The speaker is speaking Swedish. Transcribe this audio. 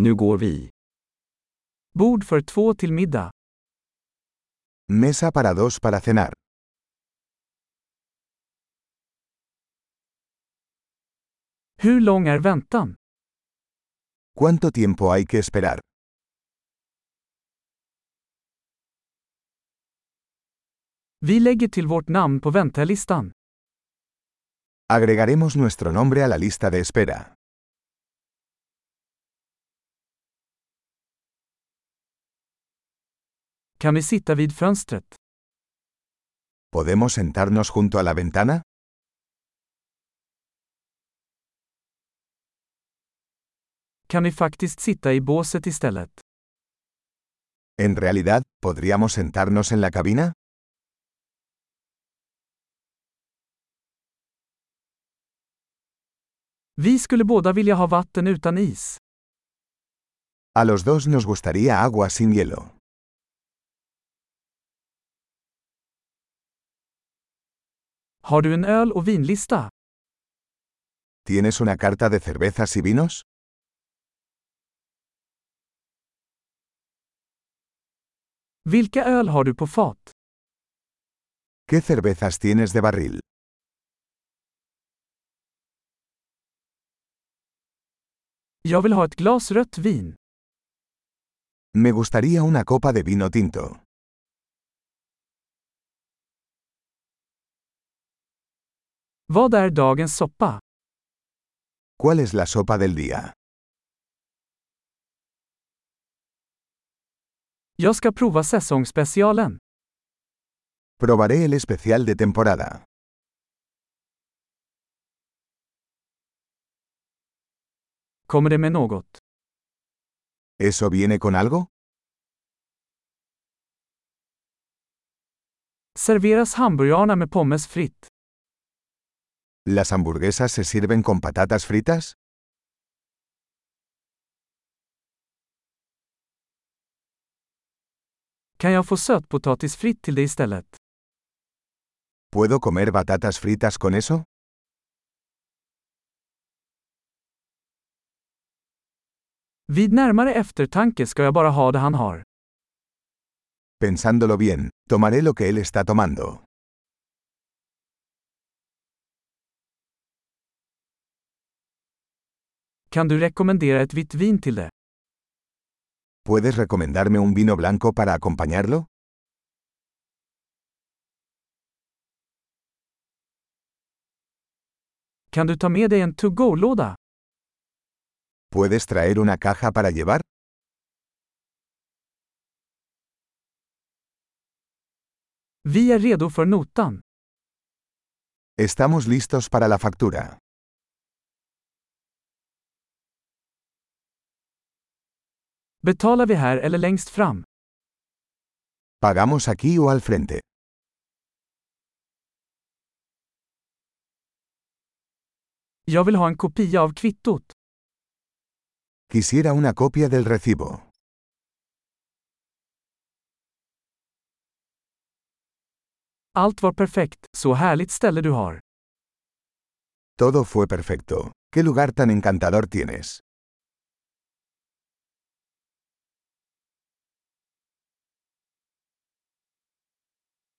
Nu går vi. Bord för två till middag. Mesa para dos para cenar. Hur lång är väntan? ¿Cuánto tiempo hay que esperar? Vi lägger till vårt namn på väntelistan. Agregaremos nuestro nombre a la lista de espera. Kan vi sitta vid fönstret? ¿Podemos sentarnos junto a la ventana? Kan vi faktiskt sitta i båset istället? En realidad, ¿podríamos sentarnos en la cabina? Vi skulle båda vilja ha vatten utan is. A los dos nos gustaría agua sin hielo. Har du en öl och vinlista? ¿Tienes una carta de cervezas y vinos? Vilka öl har du på fat? ¿Qué cervezas tienes de barril? Jag vill ha ett glas rött vin. Me gustaría una copa de vino tinto. Vad är dagens soppa? ¿Cuál es la sopa del día? Jag ska prova säsongsspecialen. Probaré el especial de temporada. Kommer det med något? ¿Eso viene con algo? Serveras hamburgarna med pommes fritt? ¿Las hamburguesas se sirven con patatas fritas? Kan jag få sötpotatis fritt till det istället? ¿Puedo comer batatas fritas con eso? Vid närmare eftertanke ska jag bara ha det han har. Pensándolo bien, tomaré lo que él está tomando. Kan du rekommendera ett vitt vin till det? ¿Puedes recomendarme un vino blanco para acompañarlo? Kan du ta med dig en to-go-låda? ¿Puedes traer una caja para llevar? Vi är redo för notan. Estamos listos para la factura. Betalar vi här eller längst fram? ¿Pagamos aquí o al frente? Jag vill ha en kopia av kvittot. Quisiera una copia del recibo. Allt var perfekt, så härligt ställe du har. Todo fue perfecto. ¿Qué lugar tan encantador tienes?